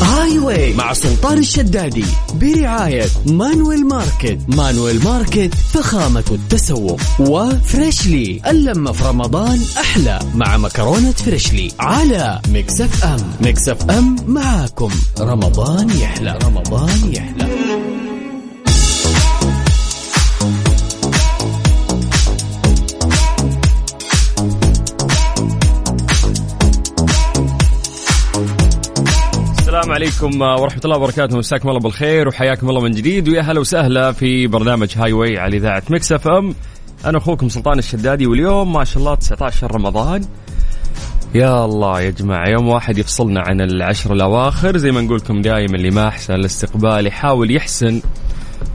ميكي واي مع سلطان الشدادي برعاية مانويل ماركت مانويل ماركت فخامة التسوق وفريشلي اللمة في رمضان أحلى مع مكرونة فريشلي على مكسف أم مكسف أم معاكم رمضان يحلى رمضان يحلى السلام عليكم آه، ورحمة الله وبركاته مساكم الله بالخير وحياكم الله من جديد ويا هلا وسهلا في برنامج هاي واي على إذاعة مكس اف ام أنا أخوكم سلطان الشدادي واليوم ما شاء الله 19 رمضان يا الله يا جماعة يوم واحد يفصلنا عن العشر الأواخر زي ما نقولكم دائما اللي ما أحسن الاستقبال يحاول يحسن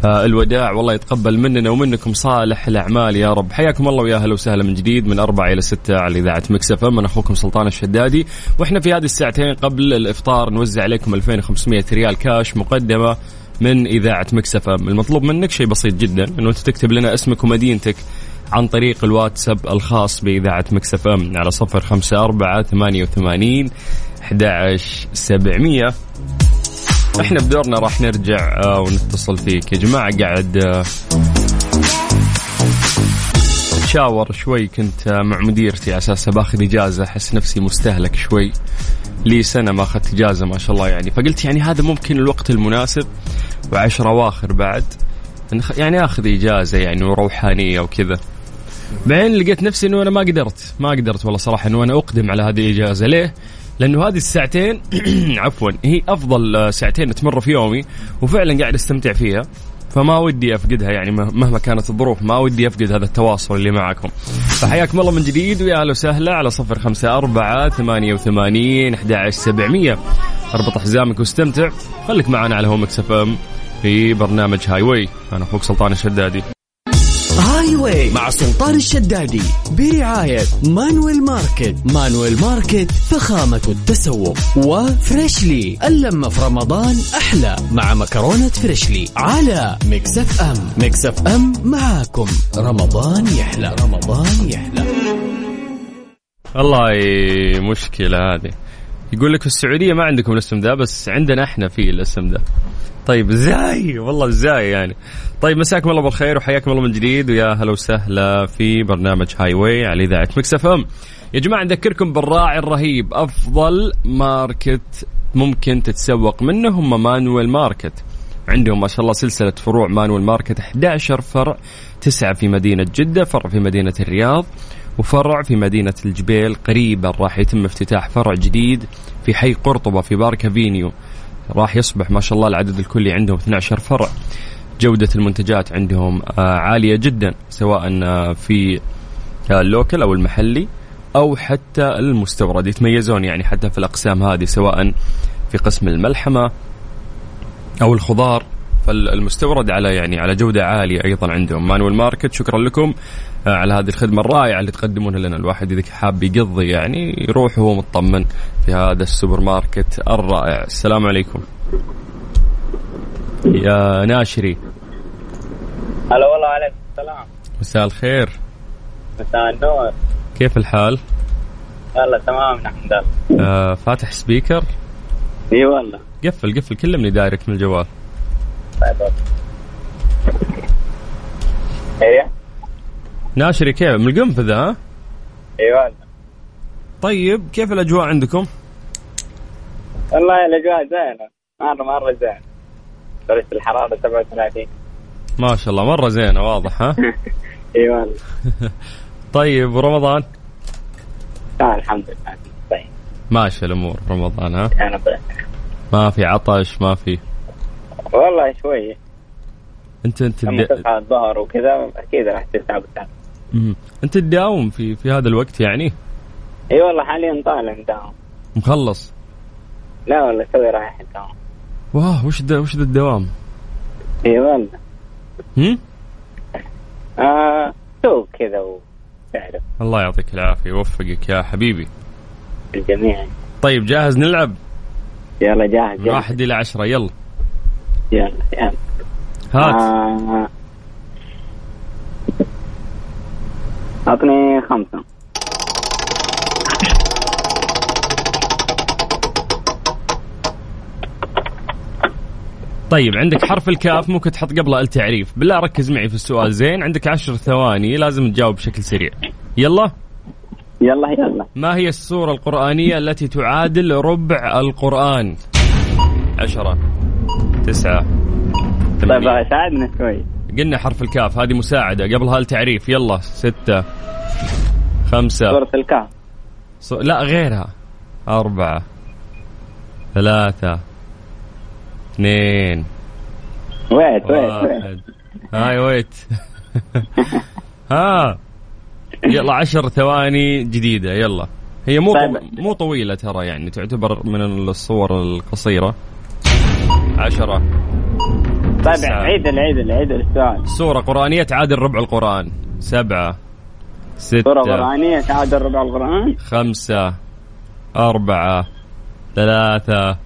آه، الوداع والله يتقبل مننا ومنكم صالح الأعمال يا رب حياكم الله ويا هلا وسهلا من جديد من أربعة إلى ستة على إذاعة مكسفة من أخوكم سلطان الشدادي وإحنا في هذه الساعتين قبل الإفطار نوزع عليكم 2500 ريال كاش مقدمة من إذاعة مكسفة المطلوب منك شيء بسيط جدا أنه أنت تكتب لنا اسمك ومدينتك عن طريق الواتساب الخاص بإذاعة مكسف أم على صفر خمسة أربعة ثمانية وثمانين سبعمية احنا بدورنا راح نرجع آه، ونتصل فيك يا جماعة قاعد آه، شاور شوي كنت آه، مع مديرتي على اساس باخذ اجازة احس نفسي مستهلك شوي لي سنة ما اخذت اجازة ما شاء الله يعني فقلت يعني هذا ممكن الوقت المناسب وعشرة اواخر بعد نخ- يعني اخذ اجازة يعني وروحانية وكذا بعدين لقيت نفسي انه انا ما قدرت ما قدرت والله صراحه انه انا اقدم على هذه الاجازه ليه؟ لانه هذه الساعتين عفوا هي افضل آه، ساعتين تمر في يومي وفعلا قاعد استمتع فيها فما ودي افقدها يعني مه- مهما كانت الظروف ما ودي افقد هذا التواصل اللي معاكم فحياكم الله من جديد ويا اهلا وسهلا على صفر خمسة أربعة ثمانية وثمانين أحد عشر سبعمية اربط حزامك واستمتع خليك معنا على هومكس اف ام في برنامج هاي واي انا اخوك سلطان الشدادي هاي واي مع سلطان الشدادي برعاية مانويل ماركت مانويل ماركت فخامة التسوق وفريشلي اللمة في رمضان أحلى مع مكرونة فريشلي على مكسف أم مكسف أم معاكم رمضان يحلى رمضان يحلى والله مشكلة هذه يقول لك في السعودية ما عندكم الاسم ده بس عندنا احنا في الاسم ده طيب ازاي والله ازاي يعني طيب مساكم الله بالخير وحياكم الله من جديد ويا هلا وسهلا في برنامج هاي واي على اذاعه مكس اف ام يا جماعه نذكركم بالراعي الرهيب افضل ماركت ممكن تتسوق منه هم مانويل ماركت عندهم ما شاء الله سلسلة فروع مانويل ماركت 11 فرع تسعة في مدينة جدة فرع في مدينة الرياض وفرع في مدينة الجبيل قريبا راح يتم افتتاح فرع جديد في حي قرطبة في بارك افينيو راح يصبح ما شاء الله العدد الكلي عندهم 12 فرع جودة المنتجات عندهم آه، عالية جدا سواء آه، في آه، اللوكل أو المحلي أو حتى المستورد يتميزون يعني حتى في الأقسام هذه سواء في قسم الملحمة أو الخضار فالمستورد على يعني على جودة عالية أيضا عندهم مانويل ماركت شكرا لكم آه، على هذه الخدمة الرائعة اللي تقدمونها لنا الواحد إذا حاب يقضي يعني يروح وهو مطمن في هذا السوبر ماركت الرائع السلام عليكم يا ناشري هلا والله عليكم السلام مساء الخير مساء النور كيف الحال؟ يلا تمام الحمد لله آه فاتح سبيكر اي والله قفل قفل كلمني دايركت من الجوال طيب والله. ايه ناشري كيف من القنفذة ها؟ اي إيه والله طيب كيف الأجواء عندكم؟ والله الاجواء زينه مره مره زينه درجه الحراره 37 ما شاء الله مرة زينة واضح ها؟ اي والله طيب ورمضان؟ آه الحمد لله طيب ماشي الأمور رمضان ها؟ انا بخير. ما في عطش ما في والله شويه أنت أنت لما تد... تصحى الظهر وكذا اكيد راح تتعب التعب مم. أنت تداوم في في هذا الوقت يعني؟ اي والله حاليا طالع مداوم مخلص لا والله توي رايح مداوم واه وش ده وش ده الدوام؟ اي والله هم؟ آه سوق كذا وتعرف الله يعطيك العافية يوفقك يا حبيبي الجميع طيب جاهز نلعب يلا جاهز من جاهز. واحد إلى عشرة يلا يلا يلا هات آه. اعطني خمسة طيب عندك حرف الكاف ممكن تحط قبله التعريف بالله ركز معي في السؤال زين عندك عشر ثواني لازم تجاوب بشكل سريع يلا يلا يلا ما هي السورة القرآنية التي تعادل ربع القرآن عشرة تسعة طيب ثمانية. آه، ساعدنا شوي قلنا حرف الكاف هذه مساعدة قبلها التعريف يلا ستة خمسة سورة الكهف ص... لا غيرها أربعة ثلاثة اثنين ويت ويت ويت. واحد هاي ويت ها يلا عشر ثواني جديدة يلا هي مو طيب. مو طويلة ترى يعني تعتبر من الصور القصيرة عشرة طيب تسعة. عيد عيد عيد السؤال سورة قرآنية تعادل ربع القرآن سبعة سورة ستة قرآنية تعادل ربع القرآن خمسة أربعة ثلاثة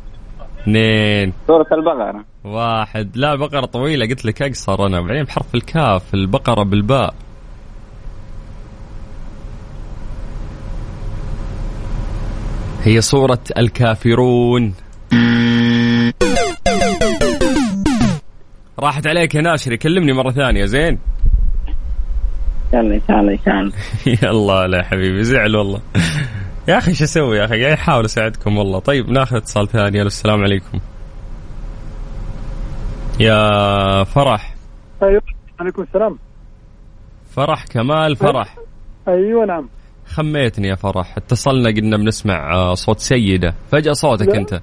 اثنين سورة البقرة واحد لا البقرة طويلة قلت لك أقصر أنا بعدين بحرف الكاف البقرة بالباء هي صورة الكافرون راحت عليك يا ناشري كلمني مرة ثانية زين يلا إن شاء الله إن شاء الله يلا لا يا حبيبي زعل والله يا أخي شو أسوي يا أخي قاعد أحاول أساعدكم والله طيب ناخذ اتصال ثاني يلا السلام عليكم يا فرح ايوه عليكم السلام فرح كمال فرح ايوه نعم خميتني يا فرح اتصلنا قلنا بنسمع آه، صوت سيدة فجأة صوتك لا. انت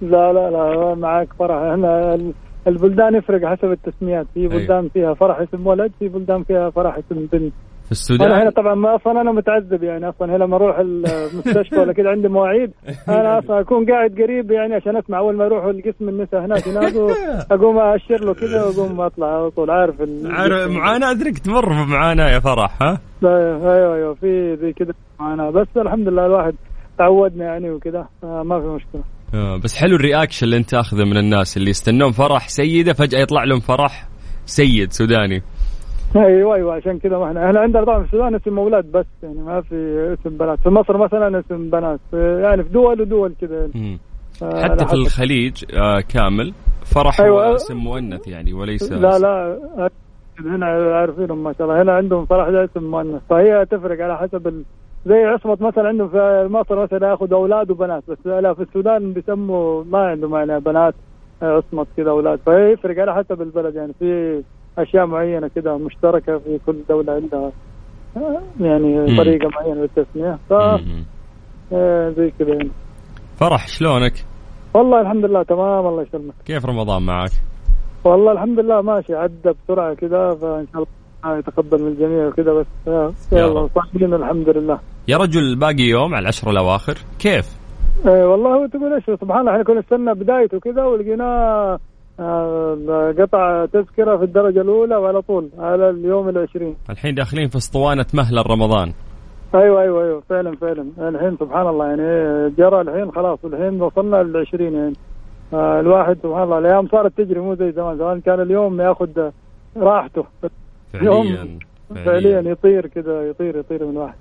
لا لا لا معك فرح هنا ال- البلدان يفرق حسب التسميات في أيوة. بلدان فيها فرح اسم ولد في بلدان فيها فرح اسم بنت في انا هنا السودان طبعا ما اصلا انا متعذب يعني اصلا هنا لما اروح المستشفى ولا كذا عندي مواعيد انا اصلا اكون قاعد قريب يعني عشان اسمع اول ما اروح القسم النساء هناك ينادوا اقوم اشر له كذا واقوم اطلع على طول عارف ال- عارف معاناة ادركت مرة معاناة يا فرح ها لا، ايوه ايوه في زي كذا انا بس الحمد لله الواحد تعودنا يعني وكذا ما في مشكله آه، بس حلو الرياكشن اللي انت اخذه من الناس اللي يستنون فرح سيدة فجأة يطلع لهم فرح سيد سوداني ايوه ايوه عشان كذا ما احنا احنا عندنا طبعا في السودان اسم اولاد بس يعني ما في اسم بنات في مصر مثلا اسم بنات يعني في دول ودول كذا يعني مم. آه، على حتى في حسب. الخليج آه، كامل فرح أيوة. هو اسم مؤنث يعني وليس لا لا آه، هنا عارفينهم ما شاء الله هنا عندهم فرح ده اسم مؤنث فهي تفرق على حسب ال... زي عصمة مثلا عندهم في مصر مثلا ياخذ اولاد وبنات بس لا في السودان بيسموا ما عندهم يعني بنات آه، عصمة كذا اولاد فيفرق على حسب البلد يعني في اشياء معينة كده مشتركة في كل دولة عندها آه، مم. يعني طريقة معينة للتسمية ف مم. آه، زي كذا يعني فرح شلونك والله الحمد لله تمام الله يسلمك كيف رمضان معك والله الحمد لله ماشي عدى بسرعه كذا فان شاء الله يتقبل من الجميع وكذا بس آه، يا يلا رب. صاحبين الحمد لله يا رجل باقي يوم على العشرة الأواخر كيف آه، والله هو تقول ايش سبحان الله احنا كنا نستنى بدايته كذا ولقيناه آه، قطع تذكره في الدرجه الاولى وعلى طول على اليوم العشرين الحين داخلين في اسطوانة مهلا رمضان ايوه ايوه ايوه فعلا فعلا الحين سبحان الله يعني إيه، جرى الحين خلاص الحين وصلنا للعشرين يعني آه، الواحد سبحان الله الايام صارت تجري مو زي زمان زمان كان اليوم ياخذ راحته فعليا فعليا يطير كذا يطير يطير من واحد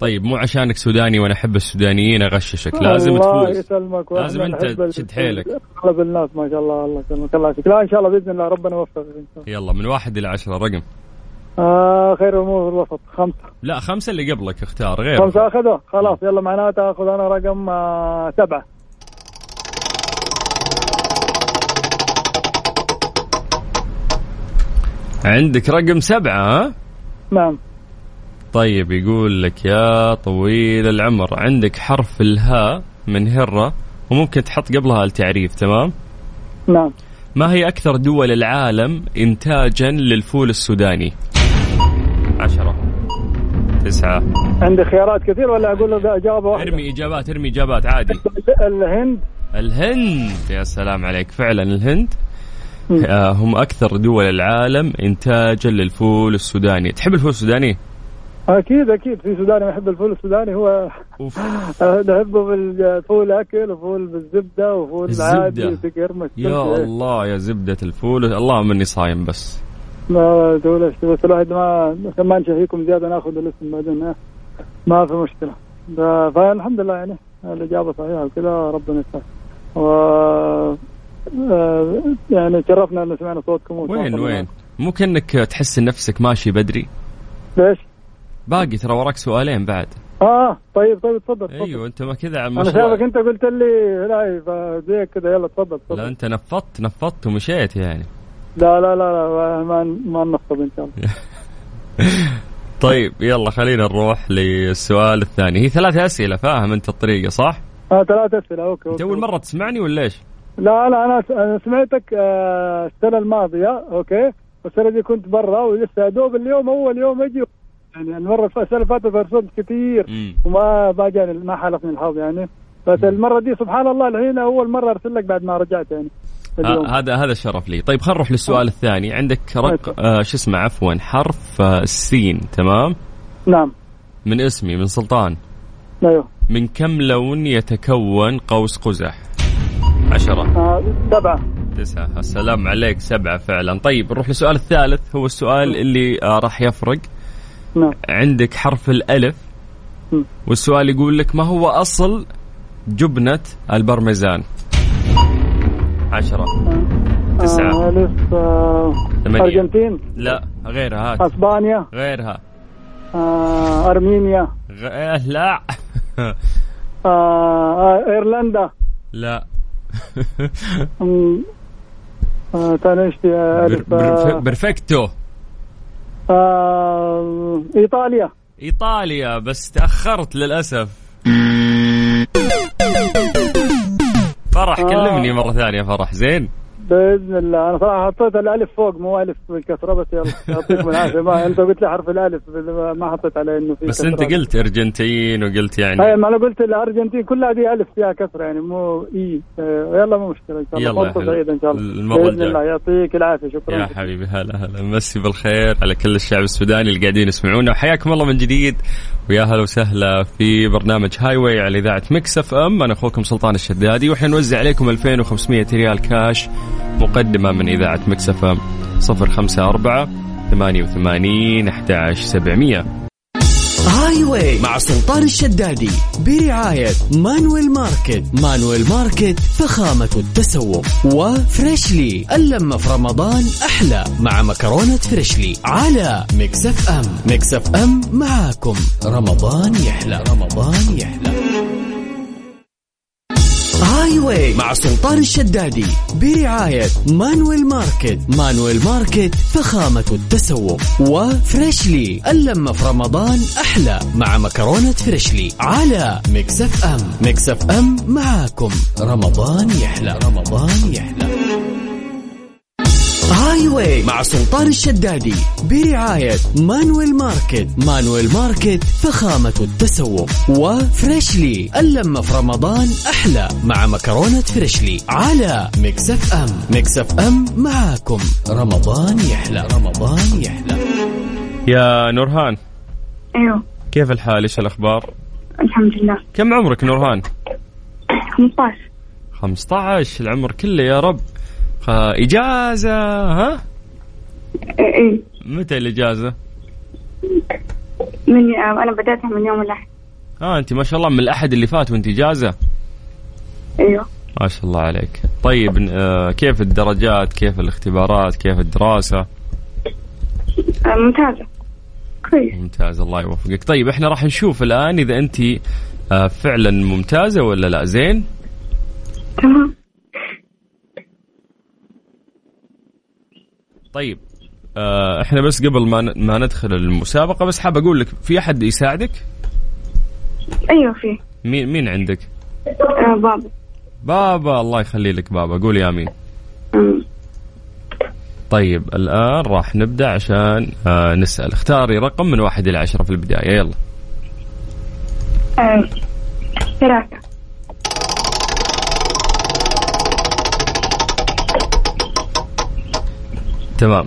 طيب مو عشانك سوداني وانا احب السودانيين اغششك لازم الله تفوز يسلمك لازم وأهلا أنت وسهلا. تشد حيلك. اغلب الناس ما شاء الله الله يسلمك الله يسلمك لا ان شاء الله باذن الله ربنا يوفقك ان شاء الله يلا من واحد الى عشرة رقم آه خير الامور في الوسط خمسه لا خمسة اللي قبلك اختار غير خمسه اخذوه خلاص يلا معناته اخذ انا رقم آه سبعه عندك رقم سبعة ها نعم طيب يقول لك يا طويل العمر عندك حرف الهاء من هرة وممكن تحط قبلها التعريف تمام نعم ما هي أكثر دول العالم إنتاجا للفول السوداني عشرة تسعة عندي خيارات كثير ولا اقول له اجابه واحده ارمي إجابات ارمي إجابات عادي الهند الهند يا سلام عليك فعلا الهند مم. آه، هم أكثر دول العالم إنتاجا للفول السوداني تحب الفول السوداني؟ اكيد اكيد في سوداني يحب الفول السوداني هو أوف آه، نحبه بالفول اكل وفول بالزبده وفول الزبدة. عادي تقرمش يا طيب. الله يا زبدة الفول اللهم إني صايم بس لا تقول ايش بس الواحد ما عشان ما نشهيكم زياده ناخذ الاسم بعدين ها. ما في مشكله ف- فالحمد لله يعني الاجابه صحيحه وكذا ربنا يستر و آه، يعني تشرفنا ان سمعنا صوتكم وين وين مو كأنك تحس إن نفسك ماشي بدري ليش؟ باقي ترى وراك سؤالين بعد اه طيب طيب تفضل تفضل. ايوه انت ما كذا انا شايفك انت قلت لي لا فزيك كذا يلا تفضل لا تفضل انت نفضت نفضت ومشيت يعني لا لا لا, لا ما ما نخطب ان شاء الله طيب يلا خلينا نروح للسؤال الثاني هي ثلاث اسئله فاهم انت الطريقه صح؟ آه ثلاث اسئله اوكي انت اوكي اول مره تسمعني ولا ايش؟ لا لا انا س- أنا سمعتك آه، السنه الماضيه اوكي والسنه دي كنت برا ولسه يا دوب اليوم اول يوم اجي يعني المره الف- السنه اللي فاتت ارسلت كثير مم. وما ما جاني ما حالفني الحظ يعني بس المره دي سبحان الله الحين اول مره ارسل لك بعد ما رجعت يعني اليوم. ه- هذا هذا شرف لي طيب خلينا نروح آه. للسؤال الثاني عندك طيب. رق آه شو اسمه عفوا حرف آه، السين تمام نعم من اسمي من سلطان ايوه من كم لون يتكون قوس قزح عشرة آه، سبعه تسعة السلام عليك سبعة فعلا طيب نروح للسؤال الثالث هو السؤال اللي آه راح يفرق نعم عندك حرف الألف مم. والسؤال يقول لك ما هو أصل جبنة البرميزان عشرة آه، تسعة. الف آه، ثمانية. ارجنتين لا غيرها آه. هات اسبانيا غيرها آه، ارمينيا غ... لا آه، آه، ايرلندا لا أم، آه، ثاني ايش في بر... الف برف... آه، برفكتو آه، ايطاليا ايطاليا بس تاخرت للاسف فرح آه. كلمني مره ثانيه فرح زين باذن الله انا صراحه حطيت الالف فوق مو الف بالكثره بس يلا يعطيكم العافيه ما انت قلت لي حرف الالف بال- ما حطيت عليه انه في بس كثرة. انت قلت ارجنتين وقلت اي يعني ما انا قلت الارجنتين كلها دي الف فيها كثره يعني مو اي آه، يلا مو مشكله ان شاء الله يلا يا فرصة حلو. سعيدة ان شاء الله المرة باذن الجاية. الله يعطيك العافيه شكرا يا حبيبي هلا هلا مسي بالخير على كل الشعب السوداني اللي قاعدين يسمعونا وحياكم الله من جديد ويا هلا وسهلا في برنامج هاي واي على اذاعه مكس اف ام انا اخوكم سلطان الشدادي واحنا نوزع عليكم 2500 ريال كاش مقدمه من اذاعه مكس اف ام 054 88 11700 هاي واي مع سلطان الشدادي برعاية مانويل ماركت مانويل ماركت فخامة التسوق وفريشلي اللمة في رمضان أحلى مع مكرونة فريشلي على مكسف أم مكسف أم معاكم رمضان يحلى رمضان يحلى هاي واي مع سلطان الشدادي برعاية مانويل ماركت مانويل ماركت فخامة التسوق وفريشلي اللمة في رمضان أحلى مع مكرونة فريشلي على مكسف أم مكسف أم معاكم رمضان يحلى رمضان يحلى هاي واي مع سلطان الشدادي برعاية مانويل ماركت مانويل ماركت فخامة التسوق وفريشلي اللمة في رمضان أحلى مع مكرونة فريشلي على مكسف أم مكسف أم معاكم رمضان يحلى رمضان يحلى يا نورهان ايوه كيف الحال ايش الاخبار الحمد لله كم عمرك نورهان 15 15 العمر كله يا رب خ- اجازه ها إيه، ايه متى الاجازه من آه، انا بدأتها من يوم الاحد اه انت ما شاء الله من الاحد اللي فات وانت اجازه ايوه ما شاء الله عليك طيب آه كيف الدرجات كيف الاختبارات كيف الدراسه آه، ممتازة كويس ممتاز الله يوفقك طيب احنا راح نشوف الان اذا انت آه فعلا ممتازه ولا لا زين تمام طيب آه احنا بس قبل ما ن- ما ندخل المسابقه بس حاب اقول لك في احد يساعدك ايوه في مين مين عندك آه، بابا بابا الله يخلي لك بابا قول يا امين آمين. طيب الان راح نبدا عشان آه نسال اختاري رقم من واحد الى عشره في البدايه يلا آه، ثلاثة تمام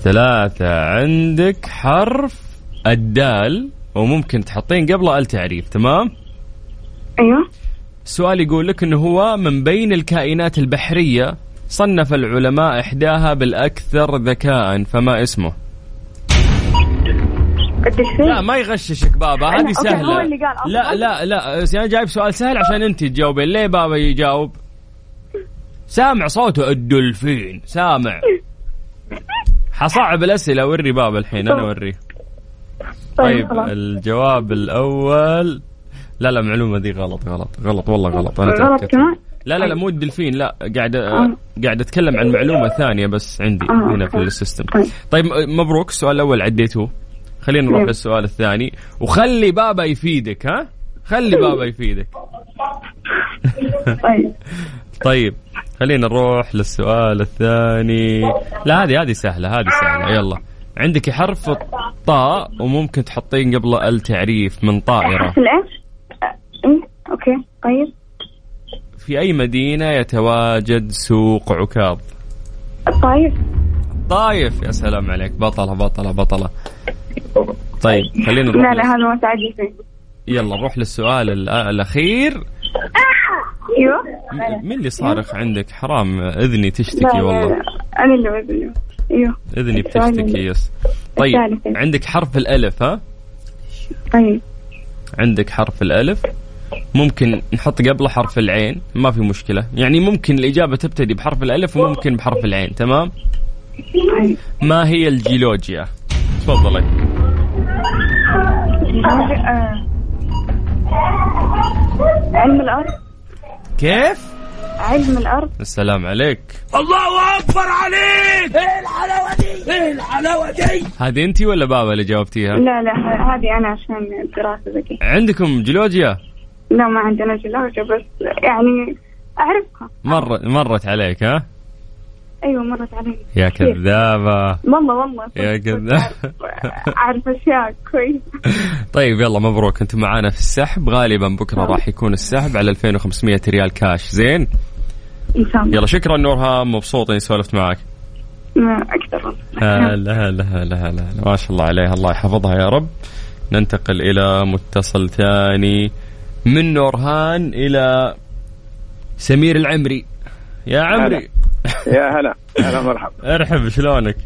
ثلاثة عندك حرف الدال وممكن تحطين قبله التعريف تمام ايوه السؤال يقول لك انه هو من بين الكائنات البحرية صنف العلماء إحداها بالأكثر ذكاء فما اسمه الدلفين لا ما يغششك بابا أنا- هذه أوكي، سهلة هو اللي قال أصلاً. لا لا لا أنا جايب سؤال سهل عشان أنت تجاوبين ليه بابا يجاوب سامع صوته الدولفين سامع حصعب الاسئله وري باب الحين انا اوريه طيب خلاص. الجواب الاول لا لا معلومه دي غلط غلط غلط والله غلط انا غلط تأكدت. كمان طيب. لا لا لا مو الدلفين لا قاعد آه. قاعد اتكلم عن معلومه ثانيه بس عندي آه، هنا في أوكي. السيستم طيب. طيب مبروك السؤال الاول عديتوه خلينا نروح نعم. للسؤال الثاني وخلي بابا يفيدك ها خلي بابا يفيدك طيب طيب خلينا نروح للسؤال الثاني لا هذه هذه سهله هذه سهله يلا عندك حرف الطاء وممكن تحطين قبله التعريف من طائره حرف الاف أم، اوكي آه، إيه، طيب في اي مدينه يتواجد سوق عكاظ طيب طايف يا سلام عليك بطلة بطلة بطلة طيب خلينا نروح لا لا هذا ما تعدي فيه يلا نروح للسؤال ال- الأخير ايوه م- مين اللي صارخ عندك حرام إذني لا، تشتكي لا، والله لا. انا اللي وزني ايوه إذني السؤال بتشتكي اللي- يس طيب الثالث. عندك حرف الألف ها طيب عندك حرف الألف ممكن نحط قبله حرف العين ما في مشكلة يعني ممكن الإجابة تبتدي بحرف الألف وممكن بحرف العين تمام طيب ما هي الجيولوجيا تفضلي آه. علم الارض كيف علم الارض السلام عليك إيه الله اكبر عليك ايه الحلاوه دي ايه الحلاوه دي هذه انت ولا بابا اللي جاوبتيها لا لا ه- هذه انا عشان الدراسه ذكي عندكم جيولوجيا لا ما عندنا جلاجة بس يعني اعرفها مر مرت عليك ها ايوه مرت علي يا كثير. كذابة والله والله صدق، يا صدق كذاب. أعرف- اعرف اشياء كويس طيب يلا مبروك انت معانا في السحب غالبا بكره راح يكون السحب على 2500 ريال كاش زين ان شاء الله يلا شكرا نورهام مبسوط اني سولفت معك ما اقدر هلا هلا هلا هلا هلا. ما شاء الله عليها الله يحفظها يا رب ننتقل الى متصل ثاني من نورهان الى سمير العمري يا عمري يا هلا هلا مرحبا ارحب شلونك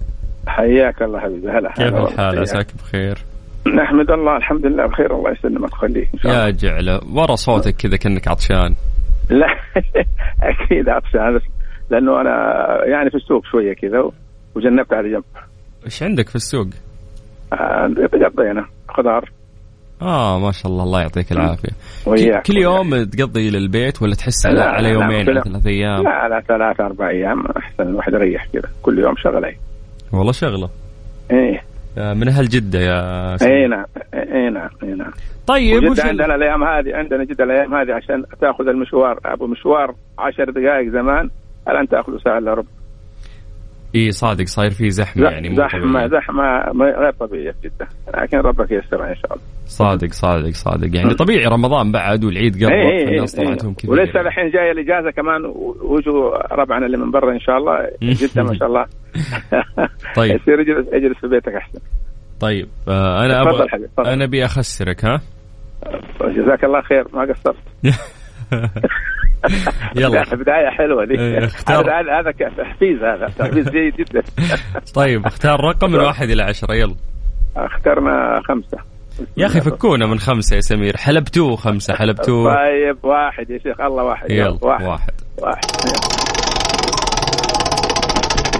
حياك الله حبيبي هلا كيف هلا والله. الحال حياك. عساك بخير نحمد الله الحمد لله بخير الله يسلمك ويخليك ان شاء الله يا جعله ورا صوتك كذا كانك عطشان لا اكيد عطشان بس لانه انا يعني في السوق شويه كذا و- وجنبت على جنب ايش عندك في السوق آه، بقضي انا خضار اه ما شاء الله الله يعطيك العافيه كل- وياك كل يوم تقضي للبيت ولا تحس على, لا، على لا، يومين على لا. ثلاث ايام لا على ثلاث اربع ايام احسن الواحد يريح كذا كل يوم شغله والله شغله ايه آه، من اهل جده يا سمير. اي نعم اي نعم اي نعم طيب وش جدة ال- عندنا الايام هذه عندنا جدة الايام هذه عشان تاخذ المشوار ابو مشوار عشر دقائق زمان الان تاخذه ساعه الا ربع اي صادق صاير في زحمه يعني مو زحمه طبيعية. زحمه ما- غير طبيعيه في جده لكن ربك ييسرها ان شاء الله صادق صادق صادق يعني طبيعي رمضان بعد والعيد إيه، قرب إيه، إيه، فالناس إيه. طلعتهم كثير ولسه الحين جايه الاجازه كمان و- وجوا ربعنا اللي من برا ان شاء الله جده ما شاء الله طيب. يصير اجلس اجلس في بيتك احسن طيب آه انا تفضل ابغى حبيبي، تفضل. انا ابي اخسرك ها طيب، جزاك الله خير ما قصرت يلا بدايه حلوه دي إيه، اختار. هذا- هذا هذا تحفيز هذا تحفيز جيد جدا طيب اختار رقم من واحد الى عشره يلا اخترنا خمسه يا اخي فكونا من خمسه يا سمير حلبتوه خمسه حلبتوه طيب واحد يا شيخ الله واحد يلا واحد واحد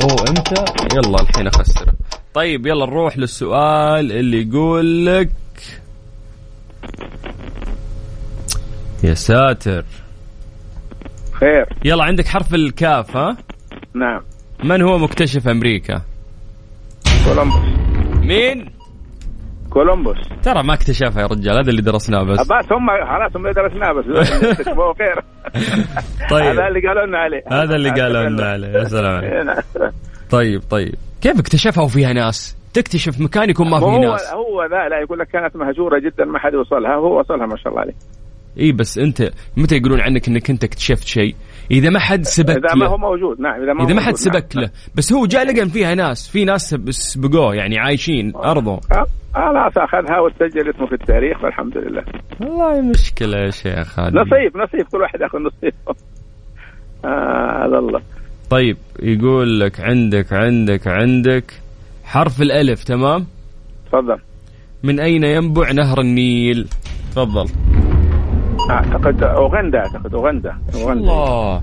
اوه امتى يلا الحين اخسره طيب يلا نروح للسؤال اللي يقول لك يا ساتر خير يلا عندك حرف الكاف ها نعم من هو مكتشف امريكا كولومبوس مين كولومبوس ترى ما اكتشفها يا رجال هذا اللي درسناه بس بس هم خلاص هم درسناه بس هو خير طيب هذا اللي قالوا لنا عليه هذا اللي قالوا لنا عليه يا سلام عليك نعم. طيب طيب كيف اكتشفها وفيها ناس تكتشف مكان يكون ما فيه هو ناس هو ذا لا يقول لك كانت مهجوره جدا ما حد وصلها هو وصلها ما شاء الله عليه اي بس انت متى يقولون عنك انك انت اكتشفت شيء اذا ما حد سبك اذا له. ما هو موجود نعم اذا ما هو اذا ما حد موجود، سبك نعم. له بس هو جاء لقى إن فيها ناس في ناس سب- سبقوه يعني عايشين ارضه آه، خلاص اخذها وسجل اسمه في التاريخ والحمد لله والله مشكله يا شيخ هذه نصيب نصيب كل واحد ياخذ نصيبه آه على الله طيب يقول لك عندك عندك عندك حرف الالف تمام تفضل من اين ينبع نهر النيل تفضل اعتقد اوغندا اعتقد اوغندا اوغندا الله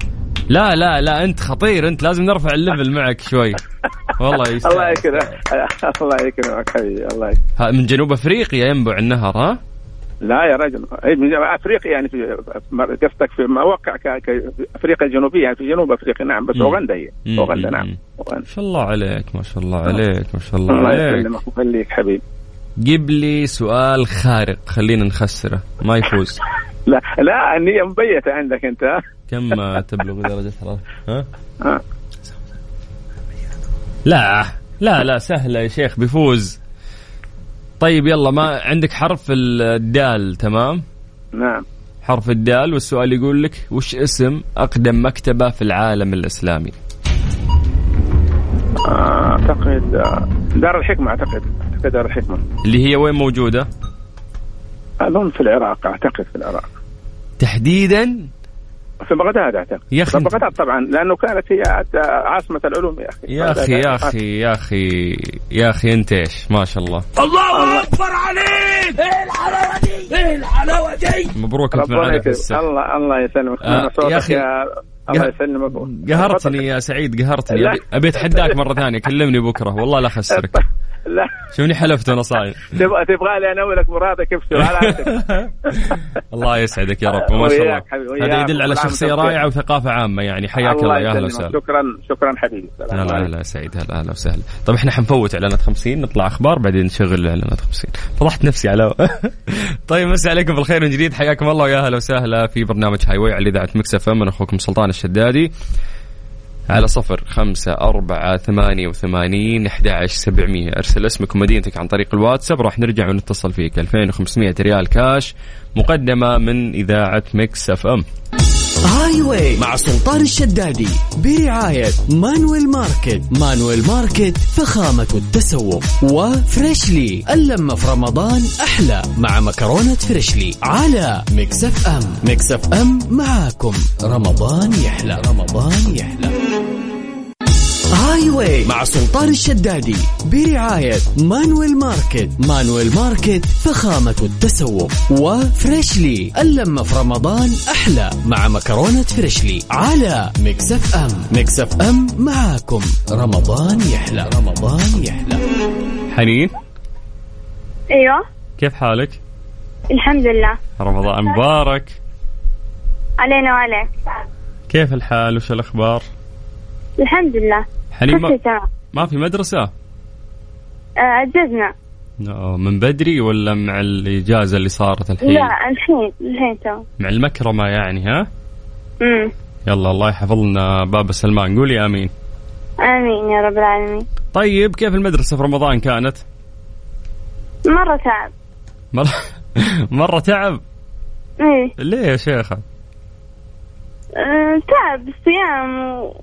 لا لا لا انت خطير انت لازم نرفع الليفل معك شوي والله يستاهل. الله يكرمك الله يكرمك حبيبي الله يكرمك ها، من جنوب افريقيا ينبع النهر ها لا يا رجل إيه، من جنوب افريقيا يعني في في- قصدك في مواقع ك- ك- في افريقيا الجنوبيه يعني في جنوب افريقيا نعم بس مم. اوغندا هي مم. اوغندا مم. نعم أوغندا. ما شاء الله عليك ما شاء الله عليك ما شاء الله الله عليك يسلمك ويخليك حبيبي جيب لي سؤال خارق خلينا نخسره ما يفوز لا لا النية مبيتة عندك انت ها؟ كم تبلغ درجة حرارة ها ها لا لا لا سهلة يا شيخ بيفوز طيب يلا ما عندك حرف الدال تمام نعم حرف الدال والسؤال يقول لك وش اسم أقدم مكتبة في العالم الإسلامي آه، اعتقد آه، دار الحكمة اعتقد اعتقد دار الحكمة اللي هي وين موجودة اظن في العراق اعتقد في العراق تحديدا في بغداد اعتقد يا أخي في أنت- بغداد طبعا لانه كانت هي عاصمة العلوم يا اخي يا أخي يا أخي يا أخي يا أخي أنت إيش ما شاء الله إيه مبروك أنت ربنا معنا في يكرمك السحب الله الله يسلمك آه، آه يا يا أخي، يا الله قه- يسلمك قهرتني يا سعيد قهرتني لا. أبي- أبي أتحداك مرة ثانية كلمني بكرة والله لا أخسرك لا شوفني حلفت أنا صاير تبغى تبغى لي انولك مرادك ابشر على عاتقك. الله يسعدك يا رب ما شاء الله وياك حبيبي، وياك. هذا يدل على والله شخصيه عم تبكي. رائعه وثقافه عامه يعني حياك الله يا اهلا يسلمك. وسهلا شكرا شكرا حبيبي السلام هلا عليكم. هلا يا سعيد هلا هلا وسهلا طب احنا طيب، حنفوت اعلانات 50 نطلع اخبار بعدين نشغل اعلانات 50 فضحت نفسي على طيب مسي عليكم بالخير من جديد حياكم الله ويا اهلا وسهلا في برنامج هاي واي على اذاعه مكس اف ام انا اخوكم سلطان الشدادي على صفر خمسة أربعة ثمانية وثمانين أحد عشر سبعمية أرسل اسمك ومدينتك عن طريق الواتساب راح نرجع ونتصل فيك 2500 ريال كاش مقدمة من إذاعة مكس أف أم هاي واي مع سلطان الشدادي برعاية مانويل ماركت مانويل ماركت فخامة التسوق وفريشلي اللمة في رمضان أحلى مع مكرونة فريشلي على مكسف أم مكسف أم معاكم رمضان يحلى رمضان يحلى هاي واي مع سلطان الشدادي برعاية مانويل ماركت مانويل ماركت فخامة التسوق وفريشلي اللمة في رمضان أحلى مع مكرونة فريشلي على مكسف أم مكسف أم معاكم رمضان يحلى رمضان يحلى حنين ايوه كيف حالك؟ الحمد لله رمضان مبارك علينا وعليك كيف الحال وش الأخبار؟ الحمد لله حنين ما, كله تمام ما في مدرسة؟ آه، أجزنا آه، من بدري ولا مع الإجازة اللي صارت الحين؟ لا الحين الحين تمام مع المكرمة يعني ها؟ أمم. يلا الله يحفظ لنا بابا سلمان قولي آمين آمين يا رب العالمين طيب كيف المدرسة في رمضان كانت؟ مرة تعب مرة, مرة تعب إيه ليه يا شيخة؟ آه، تعب الصيام و...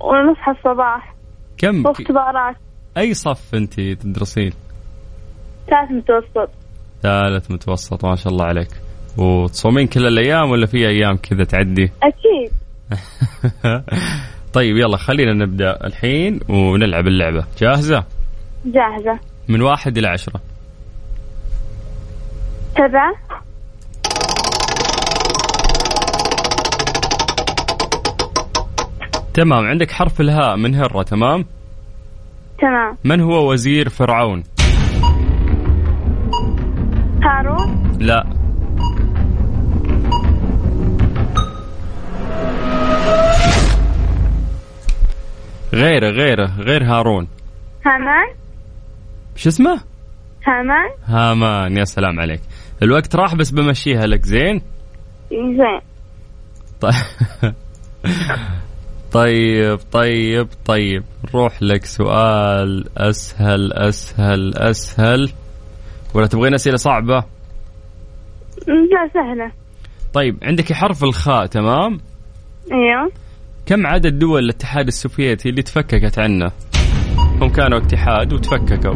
ونصحى الصباح كم واختبارات أي صف أنت تدرسين؟ ثالث متوسط ثالث متوسط ما شاء الله عليك وتصومين كل الأيام ولا في أيام كذا تعدي؟ أكيد طيب يلا خلينا نبدا الحين ونلعب اللعبه جاهزه جاهزة من واحد الى عشره سبعة تمام عندك حرف الهاء من هره تمام تمام من هو وزير فرعون هارون لا غيره غيره غير هارون هامان شو اسمه هامان هامان يا سلام عليك الوقت راح بس بمشيها لك زين زين طيب- طيب طيب طيب نروح لك سؤال اسهل اسهل اسهل ولا تبغين اسئله صعبه؟ لا سهلة طيب عندك حرف الخاء تمام؟ ايوه كم عدد دول الاتحاد السوفيتي اللي تفككت عنه؟ هم كانوا اتحاد وتفككوا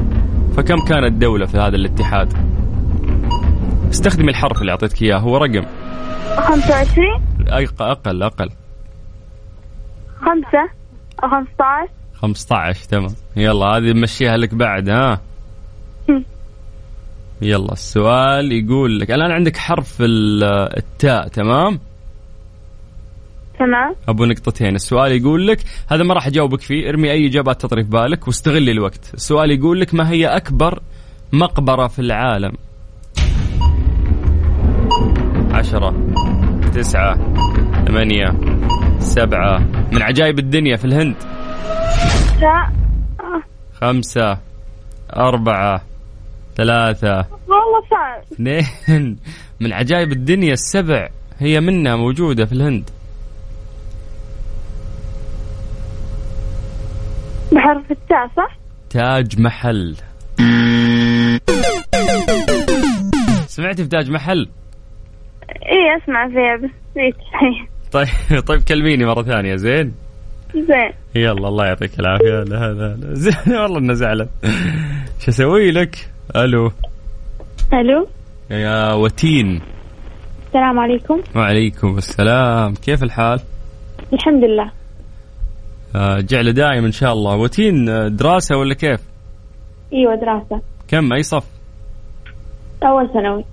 فكم كانت دولة في هذا الاتحاد؟ استخدمي الحرف اللي اعطيتك اياه هو رقم خمسة وعشرين أق- اقل اقل خمسة أو خمسة عشر 15 تمام يلا هذه نمشيها لك بعد ها هم. يلا السؤال يقول لك الان عندك حرف ال- التاء تمام تمام ابو نقطتين السؤال يقول لك هذا ما راح اجاوبك فيه ارمي اي اجابات تطري في بالك واستغلي الوقت السؤال يقول لك ما هي اكبر مقبره في العالم عشرة تسعة ثمانية سبعة من عجائب الدنيا في الهند لا خمسة أربعة ثلاثة والله صعب اثنين من عجائب الدنيا السبع هي منها موجودة في الهند بحرف التاء صح؟ تاج محل سمعتي بتاج محل اي اسمع إيه، فيها بس إيه، نسيت الحين طيب طيب كلميني مرة ثانية زين زين يلا الله يعطيك العافية لا لا لا زين والله انه زعلان شو اسوي لك؟ الو الو يا وتين السلام عليكم وعليكم السلام كيف الحال؟ الحمد لله آه، جعله دايم ان شاء الله وتين آه، دراسة ولا كيف؟ ايوه دراسة كم اي صف؟ اول ثانوي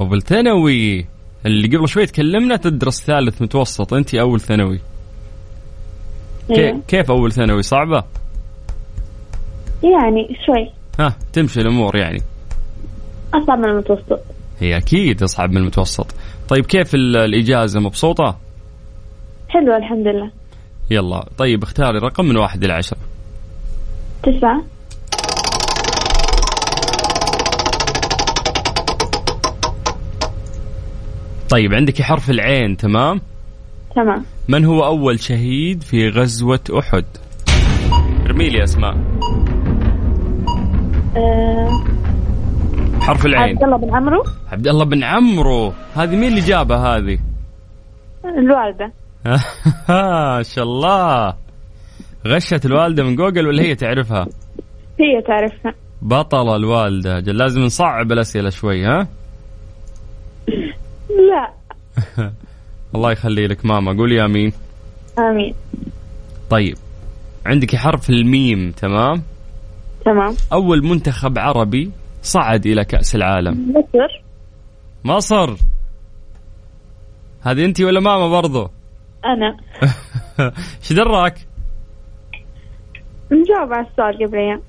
اول ثانوي اللي قبل شوي تكلمنا تدرس ثالث متوسط انت اول ثانوي كي- إيوه. كيف اول ثانوي صعبة؟ يعني شوي ها تمشي الامور يعني اصعب من المتوسط هي اكيد اصعب من المتوسط طيب كيف ال- الاجازة مبسوطة؟ حلوة الحمد لله يلا طيب اختاري رقم من واحد الى عشرة تسعة طيب عندك حرف العين تمام؟ تمام من هو أول شهيد في غزوة أحد؟ ارمي لي أسماء أه حرف العين عبد الله بن عمرو عبد الله بن عمرو هذه مين اللي جابها هذه؟ الوالدة ما شاء الله غشت الوالدة من جوجل ولا هي تعرفها؟ هي تعرفها بطلة الوالدة جل لازم نصعب الأسئلة شوي ها؟ لا الله يخلي لك ماما قول يا مين امين طيب عندك حرف الميم تمام؟ تمام أول منتخب عربي صعد إلى كأس العالم مصر مصر هذه أنت ولا ماما برضو؟ انا ايش دراك؟ مجاوب على السؤال قبل ايام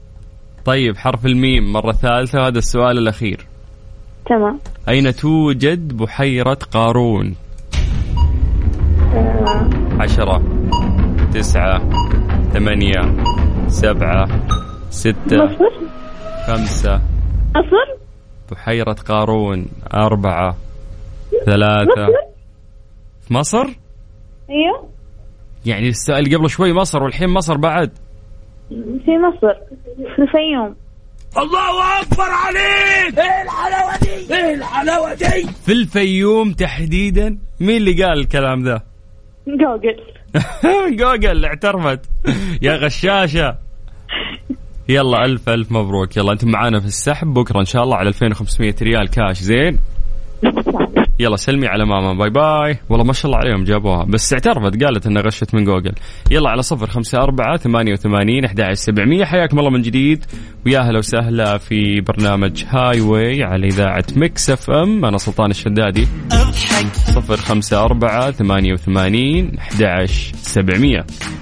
طيب حرف الميم مرة ثالثة هذا السؤال الأخير تمام أين توجد بحيرة قارون؟ أه عشرة تسعة ثمانية سبعة ستة مصر خمسة مصر بحيرة قارون أربعة ثلاثة في مصر؟ ايوه يعني السؤال قبل شوي مصر والحين مصر بعد في مصر في الفيوم في الفيوم تحديدا مين اللي قال الكلام ذا؟ جوجل جوجل اعترفت يا غشاشه يلا الف الف مبروك يلا انتم معانا في السحب بكره ان شاء الله على 2500 ريال كاش زين يلا سلمي على ماما باي باي والله ما شاء الله عليهم جابوها بس اعترفت قالت انها غشت من جوجل يلا على صفر خمسة أربعة ثمانية وثمانين أحد سبعمية حياكم الله من جديد ويا هلا وسهلا في برنامج هاي واي على إذاعة مكس اف ام أنا سلطان الشدادي صفر خمسة أربعة ثمانية وثمانين أحد سبعمية